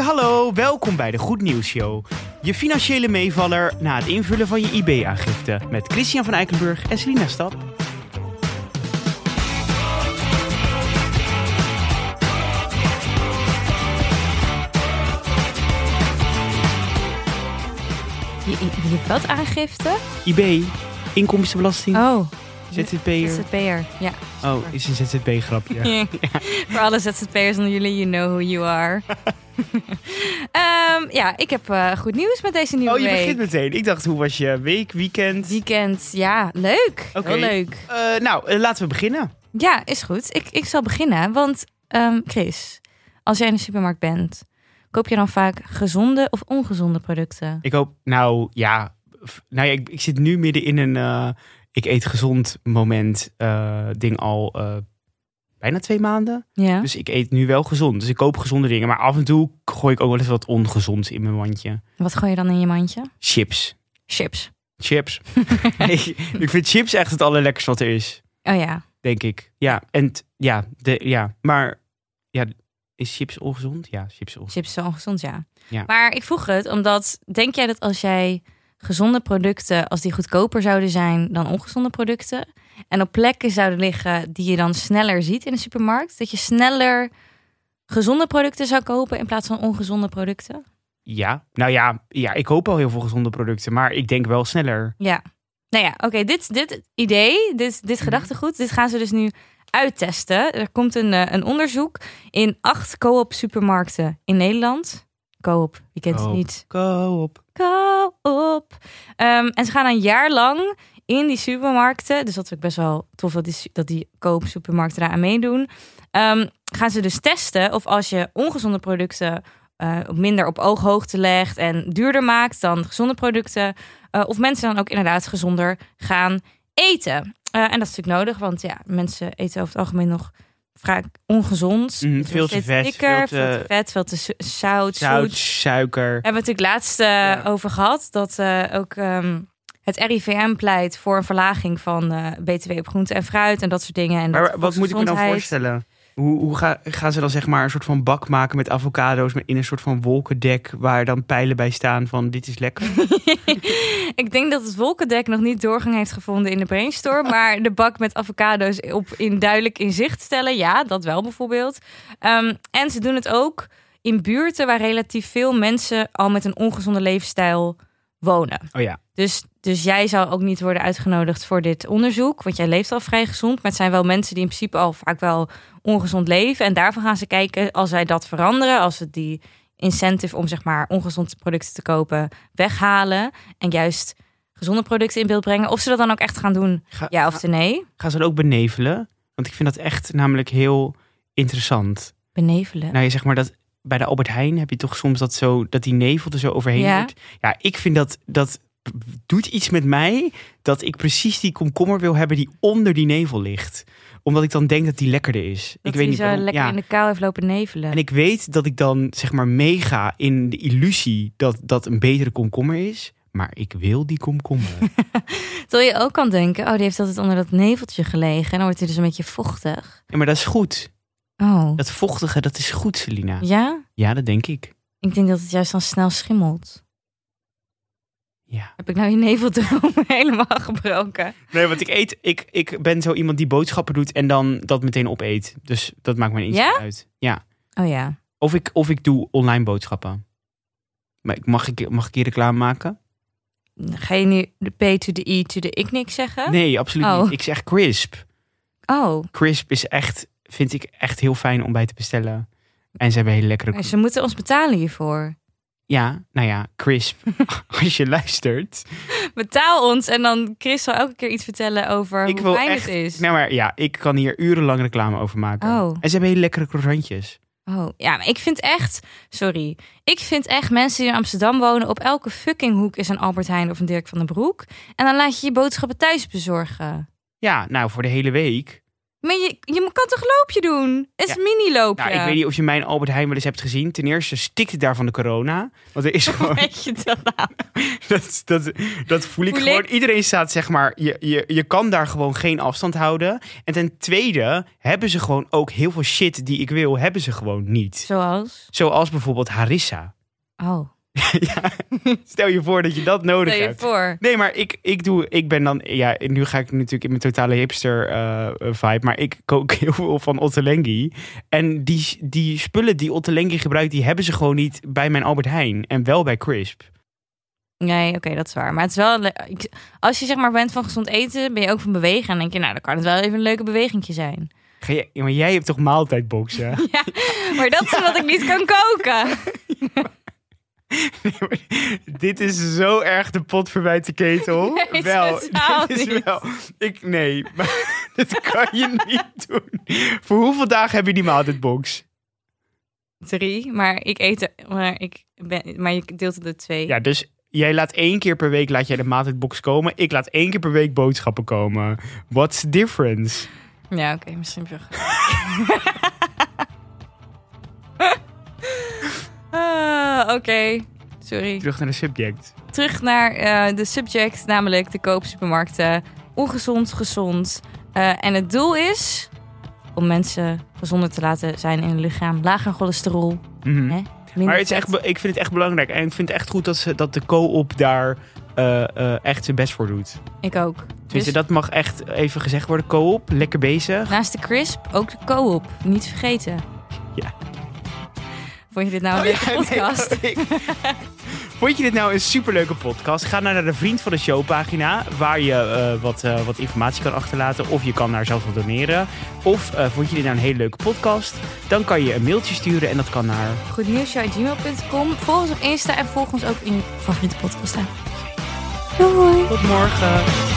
hallo, welkom bij de Goed Nieuws Show. Je financiële meevaller na het invullen van je IB-aangifte. Met Christian van Eikenburg en Selina Stap. Je, je- je wat aangifte? IB, inkomstenbelasting, Oh, ZZP'er. ZZP'er. Ja. Oh, is een ZZP-grapje. Voor alle ZZP'ers onder jullie, you know who you are. Ehm, ja, ik heb eh, goed nieuws met deze nieuwe Oh, je week. begint meteen. Ik dacht, hoe was je week, weekend? Weekend, ja, leuk. Oké. Heel leuk. Eh, nou, eh, laten we beginnen. Ja, is goed. Ik, ik zal beginnen, want ehm, Chris, als jij in de supermarkt bent, koop je dan vaak gezonde of ongezonde producten? Ik hoop, nou ja, f- nou ja ik, ik zit nu midden in een eh, ik eet gezond moment eh, ding al eh, bijna twee maanden. Ja. Dus ik eet nu wel gezond. Dus ik koop gezonde dingen. Maar af en toe gooi ik ook wel eens wat ongezonds in mijn mandje. Wat gooi je dan in je mandje? Chips. Chips. Chips. ik, ik vind chips echt het allerlekkerste wat er is, Oh ja. denk ik. Ja, en t- ja, de, ja, maar ja, is chips ongezond? Ja, chips ongezond. Chips is wel ongezond, ja. Ja. Maar ik vroeg het omdat, denk jij dat als jij gezonde producten, als die goedkoper zouden zijn dan ongezonde producten, en op plekken zouden liggen die je dan sneller ziet in de supermarkt, dat je sneller gezonde producten zou kopen in plaats van ongezonde producten? Ja, nou ja, ja, ik koop al heel veel gezonde producten, maar ik denk wel sneller. Ja. Nou ja, oké, dit, dit idee, dit, Mhm. dit gedachtegoed, dit gaan ze dus nu uittesten. Er komt een, eh, een onderzoek in acht co-op supermarkten in Nederland. Co-op, je kent het Co-op. niet. Koop. koop. Ehm en ze gaan een jaar lang in die supermarkten. Dus dat is ook best wel tof dat die, su- dat die koop supermarkten daar aan meedoen. Ehm, gaan ze dus testen of als je ongezonde producten eh, minder op ooghoogte legt en duurder maakt dan gezonde producten. eh, of mensen dan ook inderdaad gezonder gaan eten. Eh, en dat is natuurlijk nodig, want ja, mensen eten over het algemeen nog vaak ongezond. Mhm, Ze worden veel te steeds vet, dikker, veel te- veel te vet, veel te zo- zout, Zout, zoet, suiker. hebben we het natuurlijk laatst eh, Ja. over gehad. Dat eh, ook ehm, het RIVM pleit voor een verlaging van eh, BTW op groente en fruit en dat soort dingen. En dat Maar wat moet ik me dan volksgezondheid- voorstellen? Hoe, hoe ga- gaan ze dan zeg maar een soort van bak maken met avocado's met in een soort van wolkendek waar dan pijlen bij staan van dit is lekker? ik denk dat het wolkendek nog niet doorgang heeft gevonden in de brainstorm. maar de bak met avocado's op in duidelijk in zicht stellen. Ja, dat wel bijvoorbeeld. Ehm, en ze doen het ook in buurten waar relatief veel mensen al met een ongezonde leefstijl wonen. Oh ja. Dus, dus jij zou ook niet worden uitgenodigd voor dit onderzoek. Want jij leeft al vrij gezond. Maar het zijn wel mensen die in principe al vaak wel ongezond leven. En daarvan gaan ze kijken, als wij dat veranderen, als we die incentive om zeg maar ongezonde producten te kopen weghalen. En juist gezonde producten in beeld brengen. Of ze dat dan ook echt gaan doen, Ga, ja of nee. gaan ze dat ook benevelen? Want ik vind dat echt namelijk heel interessant. Benevelen. Nou, je zeg maar dat bij de Albert Heijn heb je toch soms dat zo dat die nevel er zo overheen Ja. wordt. Ja, ik vind dat dat doet iets met mij dat ik precies die komkommer wil hebben die onder die nevel ligt, omdat ik dan denk dat die lekkerder is. dat ik weet hij niet zo waarom. lekker Ja. in de kou heeft lopen nevelen. En ik weet dat ik dan zeg maar meega in de illusie dat dat een betere komkommer is. Maar ik wil die komkommer. Terwijl je ook kan denken, oh die heeft altijd onder dat neveltje gelegen. En dan wordt hij dus een beetje vochtig. ja, maar dat is goed. Oh, Dat vochtige, dat is goed, Selina. ja? Ja, dat denk ik. Ik denk dat het juist dan snel schimmelt. Ja. Heb ik nou je neveldroom helemaal gebroken? Nee, want ik eet. Ik, ik ben zo iemand die boodschappen doet en dan dat meteen opeet. Dus dat maakt me niet Ja? uit. Ja. Oh ja. Of ik, of ik doe online boodschappen. Maar ik, mag, ik, mag ik hier reclame maken? Ga je nu de P to de I to de ik niks zeggen? Nee, absoluut Oh. niet. Ik zeg crisp. Oh, Crisp is echt, vind ik echt heel fijn om bij te bestellen. En ze hebben hele lekkere maar ze moeten ons betalen hiervoor. Ja, nou ja, crisp. Als je luistert. Betaal ons en dan Chris zal elke keer iets vertellen over Ik hoe wil fijn echt. het is. Nou maar ja, ik kan hier urenlang reclame over maken. Oh. En ze hebben hele lekkere croissantjes. Oh, ja, maar ik vind echt, sorry, ik vind echt mensen die in Amsterdam wonen, op elke fucking hoek is een Albert Heijn of een Dirk van den Broek. En dan laat je je boodschappen thuis bezorgen. Ja, nou voor de hele week. Maar je, je kan toch loopje doen? Het is Ja. mini loopje. Nou, ik weet niet of je mijn Albert Heijn wel eens hebt gezien. Ten eerste stikt het daar van de corona. Want er is gewoon, Weet je dat nou? dat, dat, dat voel ik Voel gewoon. ik. Iedereen staat, zeg maar, je, je, je kan daar gewoon geen afstand houden. En ten tweede hebben ze gewoon ook heel veel shit die ik wil, hebben ze gewoon niet. Zoals? Zoals bijvoorbeeld Harissa. Oh, ja, stel je voor dat je dat nodig stel je hebt. voor. Nee, maar ik, ik doe, ik ben dan, ja, nu ga ik natuurlijk in mijn totale hipster eh, vibe, maar ik kook heel veel van Ottolenghi. En die, die spullen die Ottolenghi gebruikt, die hebben ze gewoon niet bij mijn Albert Heijn en wel bij Crisp. Nee, oké, dat is waar. Maar het is wel... le- ik- Als je zeg maar bent van gezond eten, ben je ook van bewegen. En dan denk je, nou, dan kan het wel even een leuke bewegingje zijn. Ga jij, maar jij hebt toch maaltijdboxen? Ja, maar dat is omdat ik niet kan koken. dit is zo erg de pot voorbij de ketel. Nee, wel, totaal dit is niet. wel. Ik, nee, maar dit kan je niet doen. Voor hoeveel dagen heb je die maaltijdbox? Drie, maar ik eet... Maar, ik ben, maar je deelt het door twee. Ja, dus jij laat één keer per week laat jij de maaltijdbox komen. Ik laat één keer per week boodschappen komen. What's the difference? Ja, oké, misschien heb je wel gelijk. Ah, oké, sorry. Terug naar de subject. Terug naar eh, de subject, namelijk de koopsupermarkten. Ongezond, gezond. Eh, en het doel is om mensen gezonder te laten zijn in hun lichaam. Lager cholesterol. Mhm. Hè? Minder Maar het is vet. echt, be- ik vind het echt belangrijk. En ik vind het echt goed dat, ze, dat de co-op daar eh, eh, echt zijn best voor doet. Ik ook. Dus Dus dat mag echt even gezegd worden. Co-op, lekker bezig. naast de crisp ook de co-op. Niet vergeten. Ja. Vond je dit nou een leuke Oh ja, nee, podcast? ik- Vond je dit nou een superleuke podcast? Ga nou naar de Vriend van de Show pagina, waar je eh, wat, eh, wat informatie kan achterlaten. Of je kan daar zelf wat doneren. Of eh, vond je dit nou een hele leuke podcast? Dan kan je een mailtje sturen en dat kan naar... Goed nieuws.gmail.com. Volg ons op Insta en volg ons ook in je favoriete podcast. app. Doei! Tot morgen!